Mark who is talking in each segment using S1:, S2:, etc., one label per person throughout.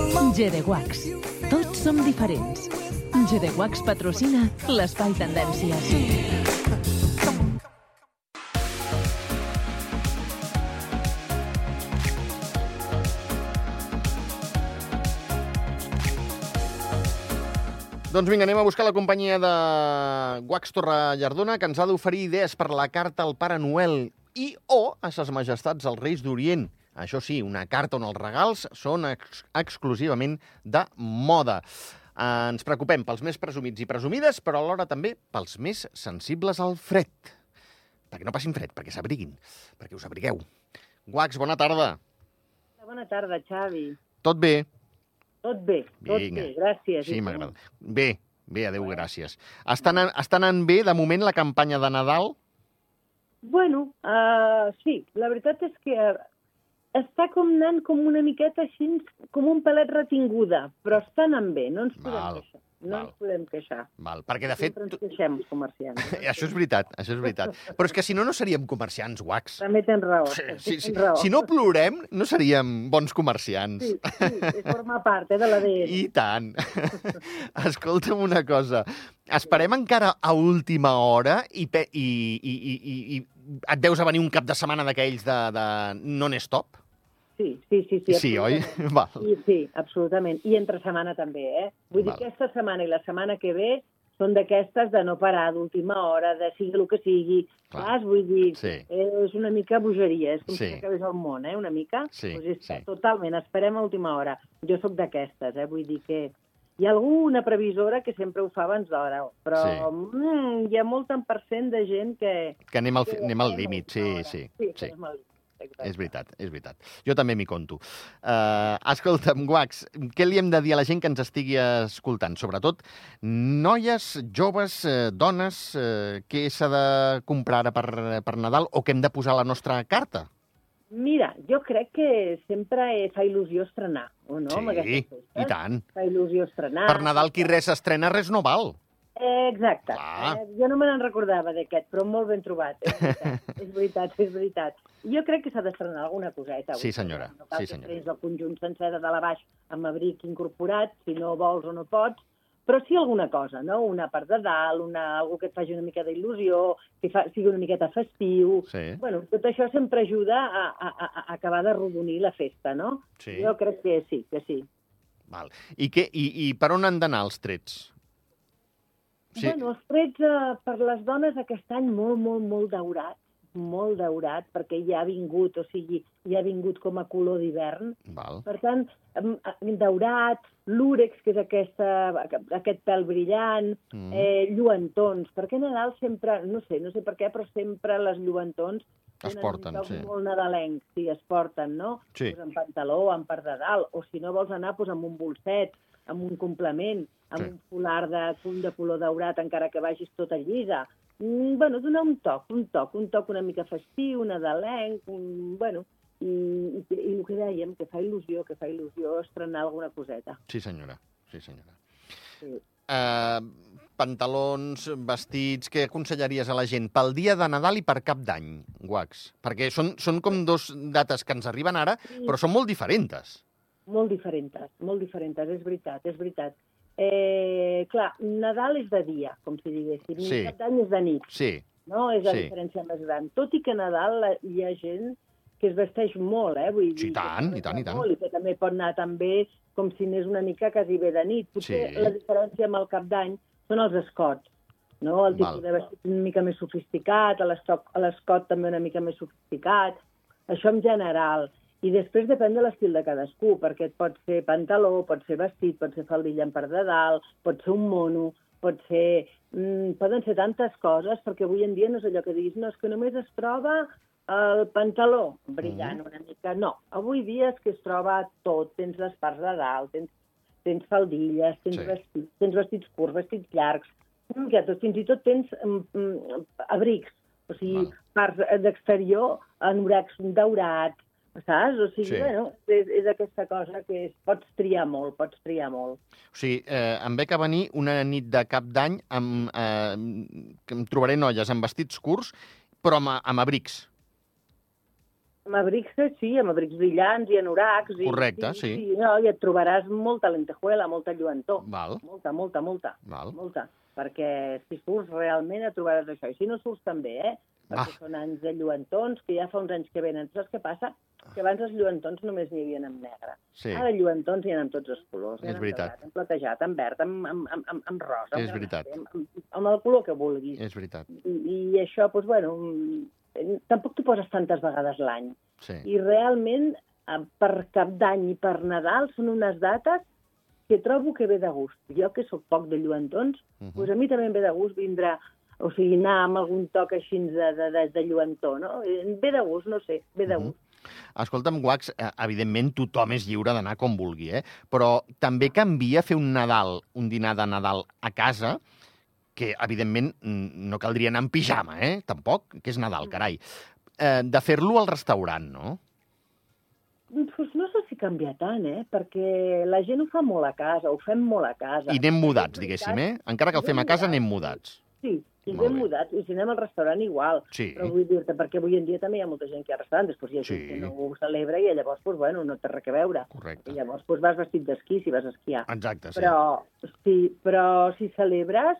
S1: GDWax. Tots som diferents. GDWax patrocina l'Espai Tendències.
S2: Doncs vinga, anem a buscar la companyia de Guax Torre Llardona, que ens ha d'oferir idees per la carta al Pare Noel i o a ses majestats els Reis d'Orient. Això sí, una carta on els regals són ex exclusivament de moda. Eh, ens preocupem pels més presumits i presumides, però alhora també pels més sensibles al fred. Perquè no passin fred, perquè s'abriguin, perquè us abrigueu. Guax, bona tarda.
S3: Bona tarda, Xavi.
S2: Tot bé?
S3: Tot bé, tot
S2: Vinga.
S3: bé, gràcies.
S2: Sí,
S3: I tu?
S2: m'agrada. Bé, bé, adéu, gràcies. Està anant, està anant bé, de moment, la campanya de Nadal?
S3: Bueno, uh, sí, la veritat és que eh, està com anant com una miqueta així, com un pelet retinguda, però està anant bé, no ens podem
S2: Val,
S3: queixar. No
S2: val.
S3: ens podem queixar.
S2: Val, perquè, de fet,
S3: Sempre ens
S2: tu-
S3: queixem, els comerciants.
S2: això és veritat, això és veritat. Però és que si no, no seríem comerciants, guacs.
S3: També tens raó.
S2: Sí, sí, sí.
S3: tens raó.
S2: Si no plorem, no seríem bons comerciants.
S3: Sí, sí, forma part eh, de l'ADN.
S2: I tant. Escolta'm una cosa. Esperem encara a última hora i, pe i, i, i, i, i et deus a venir un cap de setmana d'aquells de, de non-stop?
S3: Sí, sí, sí.
S2: Sí,
S3: Sí,
S2: sí oi?
S3: absolutament.
S2: Val.
S3: I, sí, absolutament. I entre setmana també, eh? Vull dir,
S2: Val.
S3: aquesta setmana i la setmana que ve són d'aquestes de no parar d'última hora, de sigui el que sigui.
S2: Clar.
S3: Saps? Vull dir,
S2: Sí.
S3: eh, és una mica bogeria, és com
S2: Sí.
S3: sí. si acabés el món, eh? Una mica.
S2: Sí,
S3: Doncs és,
S2: sí.
S3: Totalment, esperem a última hora. Jo sóc d'aquestes, eh? Vull dir que hi ha alguna previsora que sempre ho fa abans d'hora, però
S2: Sí.
S3: mm, hi ha molt tant percent de gent que...
S2: Que anem al,
S3: que
S2: anem al
S3: fem a
S2: límit, sí,
S3: última hora.
S2: sí.
S3: sí,
S2: sí.
S3: que anem al límit, exacte.
S2: És veritat, és veritat. Jo també m'hi conto. Uh, escolta'm, Guax, què li hem de dir a la gent que ens estigui escoltant? Sobretot, noies, joves, eh, dones, eh, què s'ha de comprar ara per, per Nadal o què hem de posar a la nostra carta?
S3: Mira, jo crec que sempre eh, fa il·lusió estrenar, o no? amb aquestes Ah, festes?
S2: i tant.
S3: Fa il·lusió estrenar.
S2: Per Nadal qui res estrena, res no val.
S3: Eh, exacte.
S2: Clar.
S3: Eh, jo no me n'en recordava d'aquest, però molt ben trobat. És veritat, és veritat. És veritat. Jo crec que s'ha d'estrenar alguna coseta.
S2: Sí, senyora,
S3: No cal
S2: sí,
S3: que
S2: senyora.
S3: treguis el conjunt sencer de dalt a baix amb abric incorporat, si no vols o no pots, però sí alguna cosa, no? Una part de dalt, una, algú que et faci una mica d'il·lusió, que fa, sigui una miqueta festiu,
S2: Sí,
S3: Bueno, tot això sempre ajuda a, a, a- a acabar de rodonir la festa, no?
S2: sí.
S3: Jo crec que sí, que sí.
S2: Val. I, què, i, I per on han d'anar els trets?
S3: sí. Bueno, els trets eh, per les dones aquest any molt, molt, molt daurat, molt daurat, perquè ja ha vingut, o sigui, ja ha vingut com a color d'hivern.
S2: Val.
S3: Per tant, em- em- daurat, l'úrex, que és aquesta, aquest pèl brillant,
S2: Mm.
S3: eh, lluentons, perquè a Nadal sempre, no sé, no sé per què, però sempre les lluentons
S2: Es
S3: tenen
S2: porten,
S3: un toc
S2: sí.
S3: molt nadalenc, sí, es porten, no?
S2: Sí,
S3: doncs, amb pantaló, amb part de dalt, o si no vols anar, doncs, amb un bolset, amb un complement, amb
S2: Sí.
S3: sí. un folar de, de color daurat, encara que vagis tota llisa. Mm, bueno, donar un toc, un toc, un toc una mica festiu, nadalenc, un, bueno, i, i, i el que dèiem, que fa il·lusió, que fa il·lusió estrenar alguna coseta.
S2: sí senyora. Sí, senyora.
S3: Sí.
S2: eh, pantalons, vestits... Què aconsellaries a la gent pel dia de Nadal i per Cap d'Any, guacs? Perquè són, són com dos dates que ens arriben ara,
S3: Sí.
S2: però són molt diferents.
S3: Molt diferentes, molt diferentes, és veritat, és veritat. Eh, clar, Nadal és de dia, com si diguéssim, i
S2: Sí.
S3: Cap d'Any és de nit.
S2: Sí,
S3: no? És la
S2: Sí.
S3: sí. diferència més gran. Tot i que a Nadal la- hi ha gent que es vesteix molt, eh? Vull
S2: Sí,
S3: dir,
S2: tant,
S3: que
S2: i tant, i tant.
S3: Molt, I que també pot anar també com si anés una mica quasi bé de nit. Potser
S2: Sí.
S3: sí. la diferència amb el cap d'any són els escots, no? El
S2: Val.
S3: tipus de vestit una mica més sofisticat, a l'estoc- a l'escot també una mica més sofisticat, això en general. I després depèn de l'estil de cadascú, perquè et pot ser pantaló, pot ser vestit, pot ser faldilla en part de dalt, pot ser un mono, pot ser... Mm, poden ser tantes coses, perquè avui en dia no és allò que diguis, no, és que només es troba el pantaló brillant una mica. No, avui dia és que es troba tot, tens les parts de dalt, tens, tens faldilles, tens,
S2: Sí.
S3: sí. vestits, tens vestits curts, vestits llargs, mm, ja tot, fins i tot tens mm, mm, abrics, o sigui,
S2: Val.
S3: parts eh, d'exterior, anoracs daurats, saps? O sigui,
S2: Sí.
S3: sí. bueno, és, és aquesta cosa que és, pots triar molt, pots triar molt.
S2: O sigui, eh, em ve que venir una nit de Cap d'Any amb... Eh, que em trobaré noies amb vestits curts, però amb, amb abrics.
S3: Amb abrics, sí, amb abrics brillants i anoracs. I,
S2: Correcte, sí. Mm.
S3: I, no, I et trobaràs molta lentejuela, molta lluentor.
S2: Val,
S3: Molta, molta, molta.
S2: val.
S3: Molta. Perquè si surts realment et trobaràs això. I si no surts també, eh? Perquè
S2: Ah.
S3: són anys de lluentons, que ja fa uns anys que venen. Saps què passa? Que abans els lluentons només n'hi havia en negre.
S2: Ah. Sí,
S3: Ara lluentons hi ha amb tots els colors. Hi ha
S2: És
S3: en
S2: veritat.
S3: daurat, En platejat, en verd, en, en, en, en, en rosa.
S2: És
S3: en
S2: veritat. Eh.
S3: granat, Amb, amb, amb el color que vulguis.
S2: és veritat.
S3: I, i això, doncs, bueno, mm, tampoc t'ho poses tantes vegades l'any.
S2: Sí,
S3: I realment, eh, per Cap d'Any i per Nadal són unes dates que trobo que ve de gust. Jo, que sóc poc de lluentons,
S2: Mhm.
S3: doncs a mi també em ve de gust vindre, o sigui, anar amb algun toc així de, de, de, de lluentor, no? Eh, Em Ve de gust, no sé, ve de
S2: Mhm.
S3: gust.
S2: Escolta'm, Guax, eh, evidentment tothom és lliure d'anar com vulgui, eh? però també canvia fer un Nadal, un dinar de Nadal a casa, que evidentment mm, no caldria anar en pijama, eh? tampoc, que és Nadal,
S3: Mm.
S2: carai, eh, de fer-lo al restaurant, no?
S3: Mm, Pues no sé si canvia tant, eh? Perquè la gent ho fa molt a casa, ho fem molt a casa.
S2: I anem mudats, diguéssim, eh? Encara que el fem a casa, anem mudats.
S3: Sí, i
S2: Molt
S3: ben
S2: bé.
S3: mudats. I si anem al restaurant, igual.
S2: Sí,
S3: Però vull dir-te, perquè avui en dia també hi ha molta gent que hi ha restaurant, després hi ha gent
S2: Sí.
S3: que no ho celebra i llavors, doncs, bueno, no té res a veure. I
S2: correcte.
S3: llavors doncs, vas vestit d'esquí si vas a esquiar.
S2: Exacte, sí.
S3: Però, sí, però si celebres,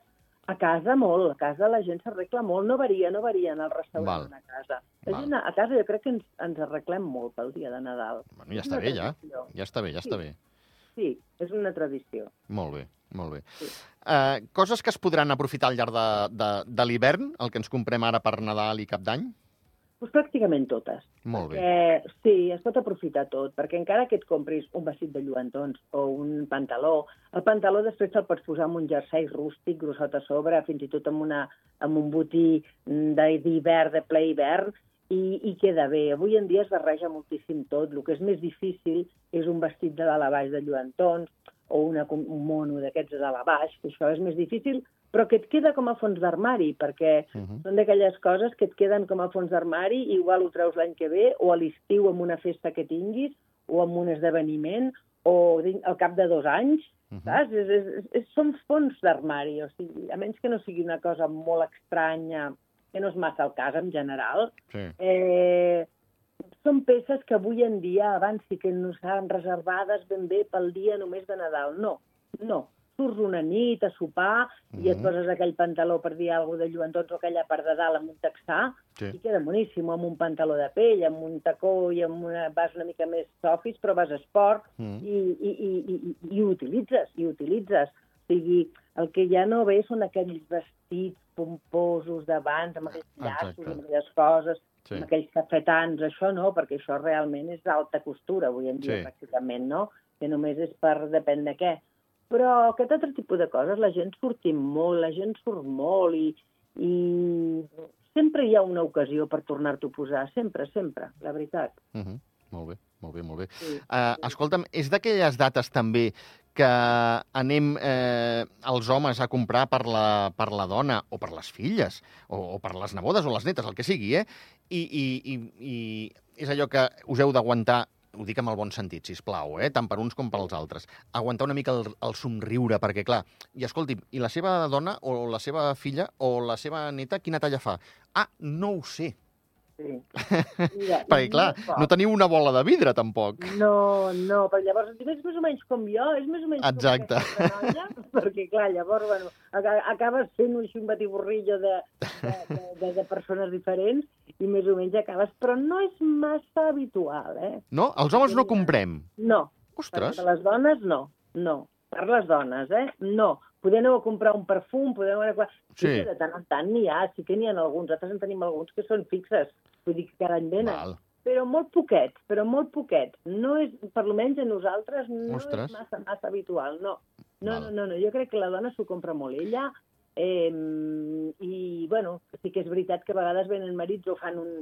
S3: a casa molt, a casa la gent s'arregla molt, no varia, no varia en el restaurant
S2: Val.
S3: a casa. La
S2: Val.
S3: gent a a casa jo crec que ens, ens arreglem molt pel dia de Nadal.
S2: Bueno, ja
S3: És
S2: està
S3: una
S2: bé, ja.
S3: tradició.
S2: Ja està bé, ja està
S3: Sí.
S2: bé.
S3: Sí, és una tradició.
S2: Molt bé, molt bé.
S3: Sí.
S2: Eh, coses que es podran aprofitar al llarg de, de, de l'hivern, el que ens comprem ara per Nadal i Cap d'Any?
S3: Pues pràcticament totes.
S2: Molt bé.
S3: Eh, sí, es pot aprofitar tot, perquè encara que et compris un vestit de lluentons o un pantaló, el pantaló després te'l pots posar amb un jersei rústic, grossot a sobre, fins i tot amb, una, amb un botí mm, de- d'hivern, de ple hivern, i, i queda bé. Avui en dia es barreja moltíssim tot. El que és més difícil és un vestit de dalt a baix de lluentons o una, com- un mono d'aquests de dalt a baix, que això és més difícil, però que et queda com a fons d'armari, perquè
S2: Uh -huh.
S3: són d'aquelles coses que et queden com a fons d'armari, i igual ho treus l'any que ve, o a l'estiu amb una festa que tinguis, o amb un esdeveniment, o din- al cap de dos anys,
S2: Uh -huh.
S3: saps? És, és, és, és, són fons d'armari, o sigui, a menys que no sigui una cosa molt estranya, que no és massa el cas en general,
S2: Sí.
S3: eh, són peces que avui en dia, abans sí que no estaven reservades ben bé pel dia només de Nadal. No, no. Surts una nit a sopar i et
S2: Mhm.
S3: poses aquell pantaló per dir alguna cosa de lluentons o aquella part de dalt amb un texà
S2: Sí.
S3: i queda boníssim, amb un pantaló de pell, amb un tacó i amb una... vas una mica més sofis, però vas a esport
S2: Uh -huh.
S3: i, i, i, i, i ho utilitzes, i ho utilitzes. O sigui, el que ja no ve són aquells vestits pomposos d'abans, amb aquells llaços,
S2: Exacte.
S3: amb aquelles coses,
S2: Sí.
S3: amb aquells cafetans, això no, perquè això realment és d'alta costura avui en dia,
S2: Sí.
S3: pràcticament, no? Que només és per depèn de què. Però aquest altre tipus de coses, la gent sortim molt, la gent surt molt i, i sempre hi ha una ocasió per tornar-t'ho a posar, sempre, sempre, la veritat.
S2: Uh -huh. Molt bé, molt bé, molt bé.
S3: Sí.
S2: Eh, escolta'm, és d'aquelles dates també que anem eh, els homes a comprar per la, per la dona o per les filles o, o per les nebodes o les netes, el que sigui, eh? I, i, i, i és allò que us heu d'aguantar ho dic amb el bon sentit, si plau, eh? tant per uns com per als altres. Aguantar una mica el, el somriure, perquè, clar, i escolti'm, i la seva dona, o la seva filla, o la seva neta, quina talla fa? Ah, no ho sé,
S3: Sí. Mira,
S2: perquè, clar,
S3: i molt
S2: no teniu una bola de vidre, tampoc.
S3: No, no, però llavors és més o menys com jo, és més o menys
S2: Exacte.
S3: com aquesta altra noia, perquè clar, llavors, bueno, aca- acabes fent un- així un batiburrillo de, de, de, de, de persones diferents i més o menys acabes, però no és massa habitual, eh?
S2: No? Els homes no comprem.
S3: No, per
S2: Ostres,
S3: per les dones no, no, per les dones, eh? No, podem anar a comprar un perfum, podem anar a...
S2: Sí.
S3: Sí. que de tant en tant n'hi ha, sí que n'hi ha alguns, nosaltres en tenim alguns que són fixes, vull dir que cada any venen
S2: val.
S3: però molt poquet, però molt poquet. No és, per almenys a nosaltres, no
S2: Ostres.
S3: és massa, massa habitual, no. No,
S2: Val.
S3: no, no, no, jo crec que la dona s'ho compra molt ella, eh, i, bueno, sí que és veritat que a vegades venen marits o fan un,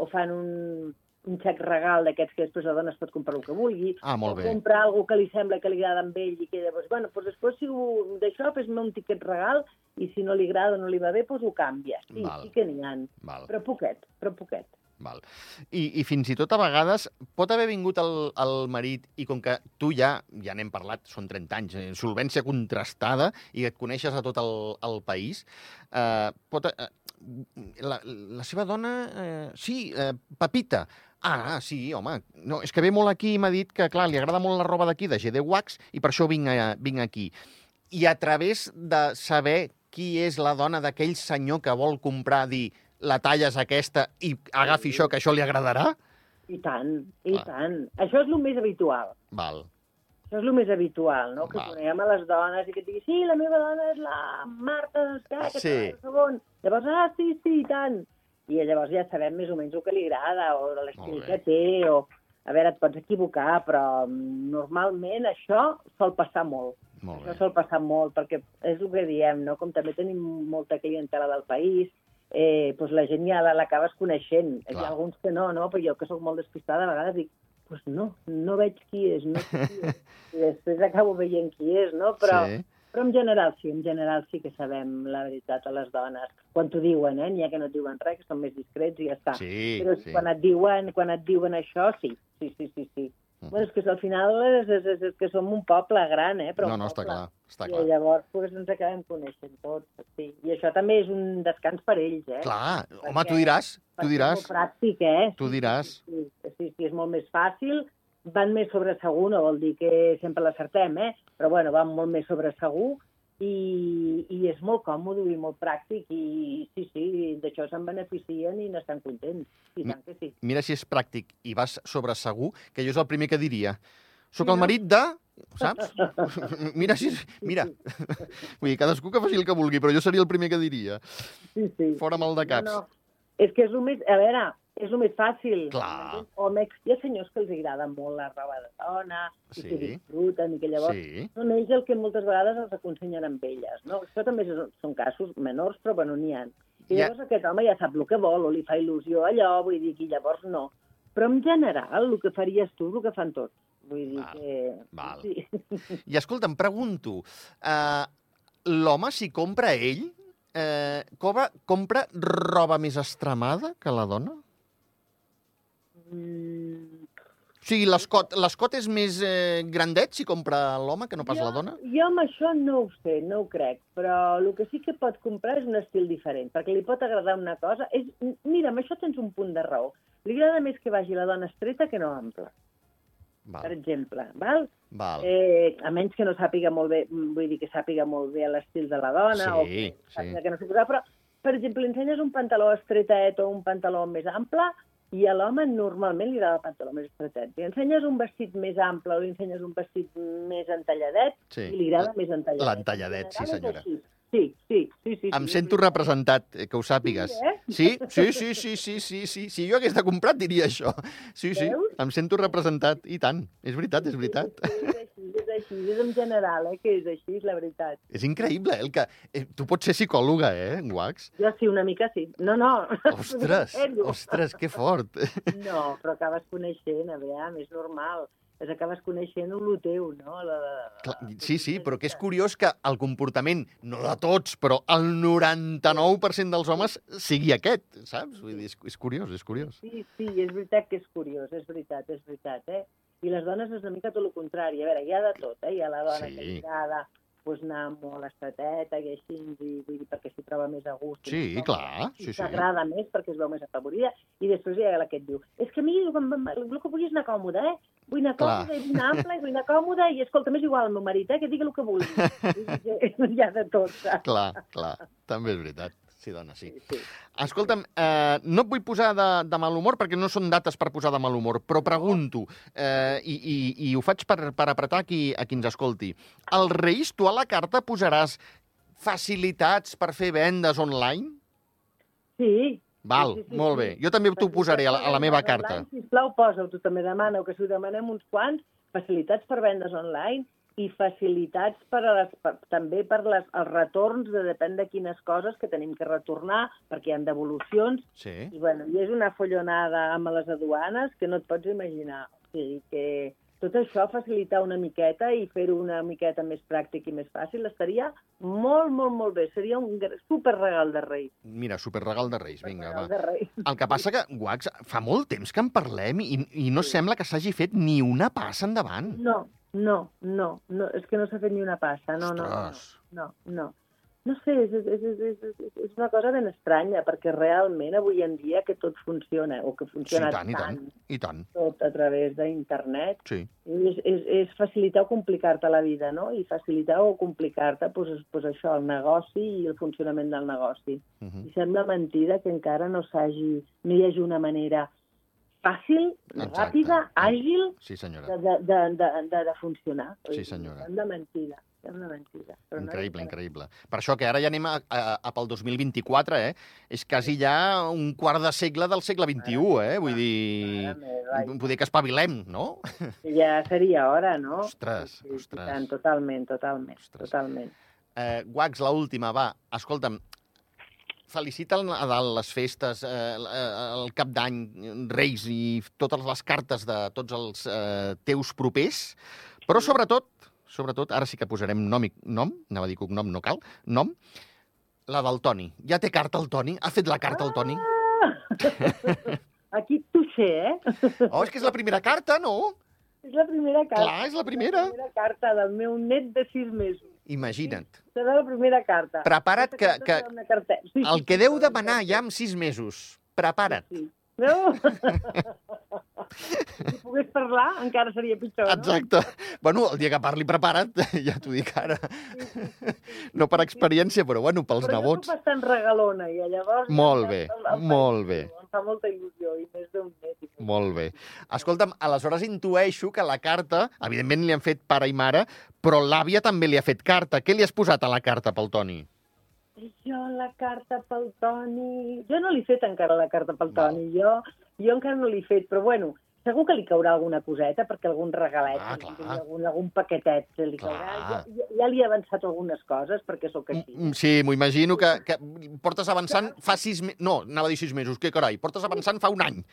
S3: o fan un, un xec regal d'aquests que després la dona es pot comprar el que vulgui,
S2: Ah, molt
S3: o
S2: bé.
S3: comprar alguna que li sembla que li agrada a ell i que llavors, bueno, doncs després si ho, d'això fes-me un tiquet regal i si no li agrada o no li va bé, doncs ho canvia. Sí,
S2: Val.
S3: sí que n'hi ha,
S2: Val,
S3: però poquet, però poquet.
S2: val. I, I fins i tot a vegades pot haver vingut el, el marit i com que tu ja, ja n'hem parlat, són 30 anys, eh, solvència contrastada i et coneixes a tot el, el país, eh, pot, eh, la, la seva dona, eh, sí, eh, Pepita, Ah, ah, sí, home. No, és que ve molt aquí i m'ha dit que, clar, li agrada molt la roba d'aquí, de GD Wax, i per això vinc, a, vinc aquí. I a través de saber qui és la dona d'aquell senyor que vol comprar, dir, la talla és aquesta i agafi això, que això li agradarà?
S3: I tant, i
S2: Ah.
S3: tant. Això és el més habitual.
S2: Val.
S3: Això és el més habitual, no? Que
S2: Val.
S3: coneguem a les dones i que et digui, sí, la meva dona és la Marta d'Escar, que
S2: Sí.
S3: sí. segon. Llavors, ah, sí, sí, i tant. I llavors ja sabem més o menys el que li agrada, o de l'estil
S2: Molt bé.
S3: que té, o... A veure, et pots equivocar, però mm, normalment això sol passar molt.
S2: Molt
S3: Això
S2: bé.
S3: sol passar molt, perquè és el que diem, no? Com també tenim molta clientela del país, eh, doncs la gent ja la- l'acabes coneixent. Clar. Hi
S2: Clar.
S3: ha alguns que no, no? Però jo, que sóc molt despistada, a vegades dic, doncs no, no veig qui és, no sé qui és. I després acabo veient qui és, no? Però, sí.
S2: Sí.
S3: però en general sí, en general sí que sabem la veritat a les dones. Quan t'ho diuen, eh? N'hi ha que no et diuen res, que són més discrets i ja està.
S2: Sí,
S3: però
S2: sí.
S3: quan et diuen, quan et diuen això, sí, sí, sí, sí. sí.
S2: Mhm.
S3: Bueno, és que al final és, és, és, és que som un poble gran, eh? Però
S2: No,
S3: un
S2: no, està
S3: poble
S2: clar, està
S3: i
S2: clar.
S3: llavors pues, ens acabem coneixent tots. Sí. I això també és un descans per ells, eh?
S2: Clar, home,
S3: Perquè-
S2: tu diràs, tu
S3: Perquè És
S2: diràs,
S3: molt pràctic, eh?
S2: tu diràs.
S3: Sí, sí, sí, és molt més fàcil. Van més sobre segur, no vol dir que sempre l'acertem, eh? Però, bueno, van molt més sobre segur i, i és molt còmode i molt pràctic i sí, sí, d'això se'n beneficien i n'estan contents. I tant que sí.
S2: Mira si és pràctic i vas sobre segur, que jo és el primer que diria. Sóc
S3: Sí,
S2: el
S3: no?
S2: marit de... Saps? Mira, si... Mira. Vull dir, cadascú que faci el que vulgui, però jo seria el primer que diria.
S3: Sí, sí.
S2: Fora mal de caps.
S3: No, no. És que és el més... A veure, és el més fàcil.
S2: Clar.
S3: Homes, hi ha senyors que els agrada molt la roba de dona,
S2: Sí.
S3: i que disfruten, i que llavors sí.
S2: Sí,
S3: són ells el que moltes vegades els aconsenyen amb elles. No? Això també és, són casos menors, però bueno, n'hi ha. I
S2: Ja.
S3: llavors aquest home ja sap el que vol, o li fa il·lusió allò, vull dir, i llavors no. Però en general, el que faries tu és el que fan tots. Vull dir
S2: Val,
S3: que...
S2: val.
S3: Sí.
S2: I escolta, em pregunto, eh, l'home, si compra ell, eh, cobra, compra roba més extremada que la dona?
S3: Mm,
S2: O sigui, l'escot l'escot és més eh, grandet si compra l'home que no pas
S3: jo,
S2: la dona?
S3: Jo amb això no ho sé, no ho crec, però el que sí que pot comprar és un estil diferent, perquè li pot agradar una cosa. És, mira, amb això tens un punt de raó. Li agrada més que vagi la dona estreta que no ampla, per
S2: Val,
S3: exemple. Val?
S2: val.
S3: Eh, a menys que no sàpiga molt bé, mm, vull dir que sàpiga molt bé l'estil de la dona,
S2: Sí,
S3: o que,
S2: sí.
S3: sàpiga que no s'hi posar, però, per exemple, li ensenyes un pantaló estretet o un pantaló més ample, i a l'home normalment li agrada el pantaló més estretet. Li ensenyes un vestit més ample o li ensenyes un vestit més entalladet,
S2: Sí.
S3: i li agrada més entalladet.
S2: L'entalladet, sí,
S3: En general
S2: senyora.
S3: és així. Sí, sí, sí. sí
S2: Em
S3: sí,
S2: sento
S3: és veritat.
S2: representat, eh, que ho sàpigues.
S3: Sí, eh?
S2: Sí, sí, sí, sí, sí, sí, sí. Si jo hagués de comprar, et diria això. Sí, sí,
S3: Veus?
S2: em sento representat, i tant. És veritat, és veritat.
S3: És així, és així, és en general, eh, que és així, és la veritat.
S2: És increïble, eh, el que... Eh, tu pots ser psicòloga, eh, en Wax?
S3: Jo sí, una mica sí. No, no.
S2: Ostres,
S3: En sèrio.
S2: ostres, que fort.
S3: No, però acabes coneixent, a veure, és normal. És acabes coneixent el teu, no? La, la,
S2: Clar, Sí, sí, però que és curiós que el comportament, no de tots, però el 99% dels homes sigui aquest, saps? Vull dir, és, és curiós, és curiós.
S3: Sí, sí, és veritat que és curiós, és veritat, és veritat, eh? I les dones és una mica tot el contrari. A veure, hi ha de tot, eh? Hi ha la dona
S2: Sí.
S3: sí. que li agrada pues, anar molt estreteta i així, i, vull dir, perquè s'hi troba més a gust. i
S2: Sí,
S3: més còmoda,
S2: clar,
S3: i
S2: sí, sí.
S3: S'agrada més perquè es veu més afavorida. I després hi ha la que et diu, és que a mi el, el que vull és anar còmode, eh? Vull anar
S2: Clar.
S3: còmode, i vull anar ample, i vull anar còmode, i escolta, m'és igual el meu marit, eh? Que digui el que vulgui. Vull dir que Hi ha de tot, saps?
S2: Clar, clar, també és veritat. Sí, dona, sí.
S3: Sí, sí.
S2: Escolta'm, eh, no et vull posar de, de mal humor perquè no són dates per posar de mal humor, però pregunto, eh, i, i, i ho faig per, per apretar qui, a qui ens escolti. Al Reis, tu a la carta posaràs facilitats per fer vendes online?
S3: sí,
S2: Val,
S3: Sí, sí, sí,
S2: molt bé. Jo també t'ho posaré a la, a la meva
S3: Facilitats per
S2: carta.
S3: vendes Online, sisplau, posa-ho, tu també demana, que si ho demanem uns quants, facilitats per vendes online i facilitats per a les, per, també per les, els retorns de depèn de quines coses que tenim que retornar, perquè hi ha devolucions,
S2: Sí.
S3: i, bueno, i és una follonada amb les aduanes que no et pots imaginar. O sigui que tot això, facilitar una miqueta i fer-ho una miqueta més pràctic i més fàcil, estaria molt, molt, molt bé. Seria un gr- superregal de rei.
S2: Mira, superregal de Reis, vinga,
S3: Superregal
S2: va.
S3: De rei.
S2: El que passa que, Guax, fa molt temps que en parlem i, i no sembla que s'hagi fet ni una passa endavant.
S3: No, no, no, no, és que no s'ha fet ni una passa, no, no, no,
S2: Ostres.
S3: no, no. No sé, és, és, és, és, és és una cosa ben estranya, perquè realment avui en dia que tot funciona, o que
S2: Sí, i
S3: funciona
S2: tant, i tant, i tant.
S3: tot a través d'internet,
S2: Sí.
S3: és, és, és facilitar o complicar-te la vida, no? I facilitar o complicar-te, doncs, doncs això, el negoci i el funcionament del negoci.
S2: Uh -huh.
S3: I sembla mentida que encara no s'hagi, no hi hagi una manera fàcil,
S2: Exacte.
S3: ràpida, àgil
S2: Sí,
S3: de,
S2: senyora.
S3: de, de, de, de, de funcionar.
S2: Sí, senyora.
S3: Sembla mentida, sembla mentida. Però no
S2: Increïble,
S3: és-
S2: increïble. Per això que ara ja anem a, a, a pel 2024, eh? És quasi ja un quart de segle del segle XXI, eh? Vull dir...
S3: Mare meva,
S2: Poder que espavilem, no?
S3: Ja seria hora, no?
S2: Ostres,
S3: i
S2: ostres.
S3: tant, totalment, totalment,
S2: Ostres.
S3: totalment.
S2: Eh, Guax, la última, va. Escolta'm, felicita el Nadal, les festes, eh, el- eh, el cap d'any, Reis i totes les cartes de tots els eh, teus propers, però sobretot, sobretot, ara sí que posarem nom, i, nom anava a dir cognom, no cal, nom, la del Toni. Ja té carta el Toni? Ha fet la carta el Toni?
S3: Aquí tuixé, eh?
S2: Oh, és que és la primera carta, no?
S3: És la primera carta.
S2: Clar, és la primera.
S3: És la primera carta del meu net de sis mesos.
S2: Imagina't.
S3: Serà la primera carta.
S2: Prepara't que,
S3: Aquesta
S2: que
S3: serà una carta- Sí, sí,
S2: el
S3: sí,
S2: que deu
S3: serà una
S2: demanar
S3: carta.
S2: ja amb sis mesos, prepara't.
S3: Sí. No? si pogués parlar, encara seria pitjor, no?
S2: Exacte. Bueno, el dia que parli, prepara't, ja t'ho dic ara. No per experiència, però bueno, pels
S3: Però jo
S2: nebots.
S3: soc bastant regalona i llavors...
S2: Molt bé,
S3: El- el- el-
S2: molt bé.
S3: Em fa molta il·lusió i més d'un net. i tot.
S2: Molt bé. Escolta'm, aleshores intueixo que la carta, evidentment li han fet pare i mare, però l'àvia també li ha fet carta. Què li has posat a la carta pel Toni?
S3: Jo la carta pel Toni... Jo no l'he fet encara la carta pel
S2: Val.
S3: Toni, jo, jo encara no l'he fet, però bueno, segur que li caurà alguna coseta, perquè algun regalet,
S2: Ah,
S3: li-
S2: clar.
S3: algun, algun paquetet se li
S2: Clar.
S3: caurà. Ja, ja, ja li he avançat algunes coses, perquè sóc així.
S2: Mm, Sí, m'ho imagino que, que portes avançant fa sis... Me... No, anava a dir sis mesos, què carai, portes avançant fa un any.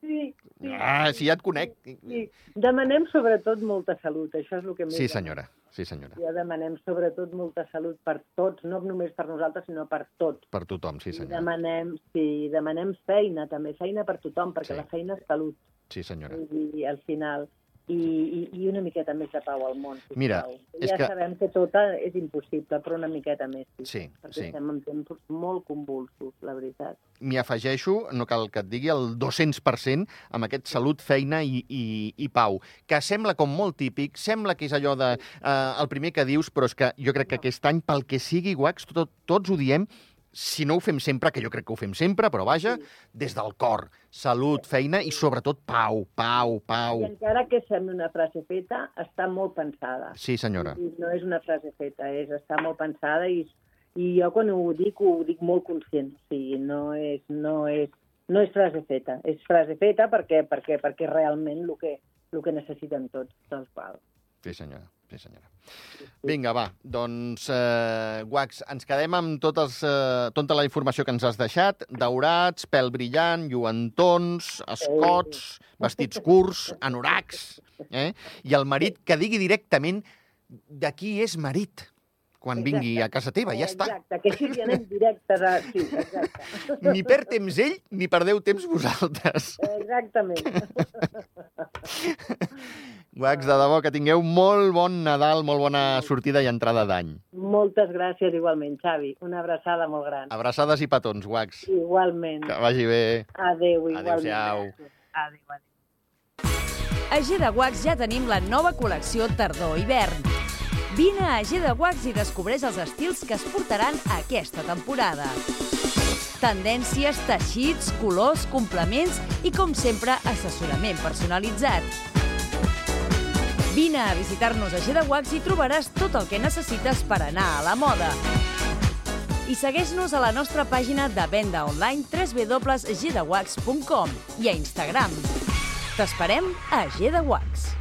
S3: Sí, sí.
S2: Ah, si ja et conec.
S3: sí. Demanem sobretot molta salut, això és el que més...
S2: Sí,
S3: demano.
S2: senyora, sí, senyora.
S3: Ja demanem sobretot molta salut per tots, no només per nosaltres, sinó per tots.
S2: Per tothom, sí,
S3: I
S2: senyora.
S3: demanem, sí, demanem feina, també, feina per tothom, perquè
S2: Sí.
S3: la feina és salut.
S2: Sí, senyora.
S3: i, al final i, i, i una miqueta més de pau al món. sisplau.
S2: Mira, és
S3: ja
S2: que-
S3: sabem que tot és impossible, però una miqueta més. Sí,
S2: Sí,
S3: perquè
S2: sí.
S3: estem en temps molt convulsos, la veritat.
S2: m'hi afegeixo, no cal que et digui, el 200% amb aquest salut, feina i, i, i pau, que sembla com molt típic, sembla que és allò de eh, el primer que dius, però és que jo crec que aquest any, pel que sigui, guacs, tot, tots ho diem, si no ho fem sempre, que jo crec que ho fem sempre, però vaja,
S3: Sí.
S2: des del cor, salut, feina i sobretot pau, pau, pau.
S3: I encara que sembli una frase feta, està molt pensada.
S2: Sí, senyora.
S3: I No és una frase feta, és està molt pensada i, i jo quan ho dic ho dic molt conscient. O sigui, no és, no és, no és frase feta, és frase feta perquè, perquè, perquè és realment el que, el que necessitem tots, tal qual.
S2: Sí, senyora. Sí, senyora. Vinga, va, doncs, eh, Guax, ens quedem amb totes, eh, tota la informació que ens has deixat. Daurats, pèl brillant, lluentons, escots, vestits curts, anoracs, eh? I el marit que digui directament de qui és marit quan
S3: Exacte.
S2: vingui a casa teva, ja està.
S3: Exacte, que així hi anem directes. A... Sí, exacte.
S2: Ni per temps ell, ni perdeu temps vosaltres.
S3: Exactament.
S2: Guax, de debò, que tingueu molt bon Nadal, molt bona sortida i entrada d'any.
S3: Moltes gràcies igualment, Xavi. Una abraçada molt gran.
S2: Abraçades i petons, Guax.
S3: Igualment.
S2: Que vagi bé.
S3: Adéu, igualment.
S2: Adéu-siau.
S3: Gràcies. Adéu, adéu.
S4: A G de Guacs ja tenim la nova col·lecció tardor-hivern. Vine a G de Guacs i descobreix els estils que es portaran aquesta temporada. Tendències, teixits, colors, complements i, com sempre, assessorament personalitzat. Vine a visitar-nos a G de Guacs i trobaràs tot el que necessites per anar a la moda. I segueix-nos a la nostra pàgina de venda online www.gdewax.com i a Instagram. T'esperem a G de Wax.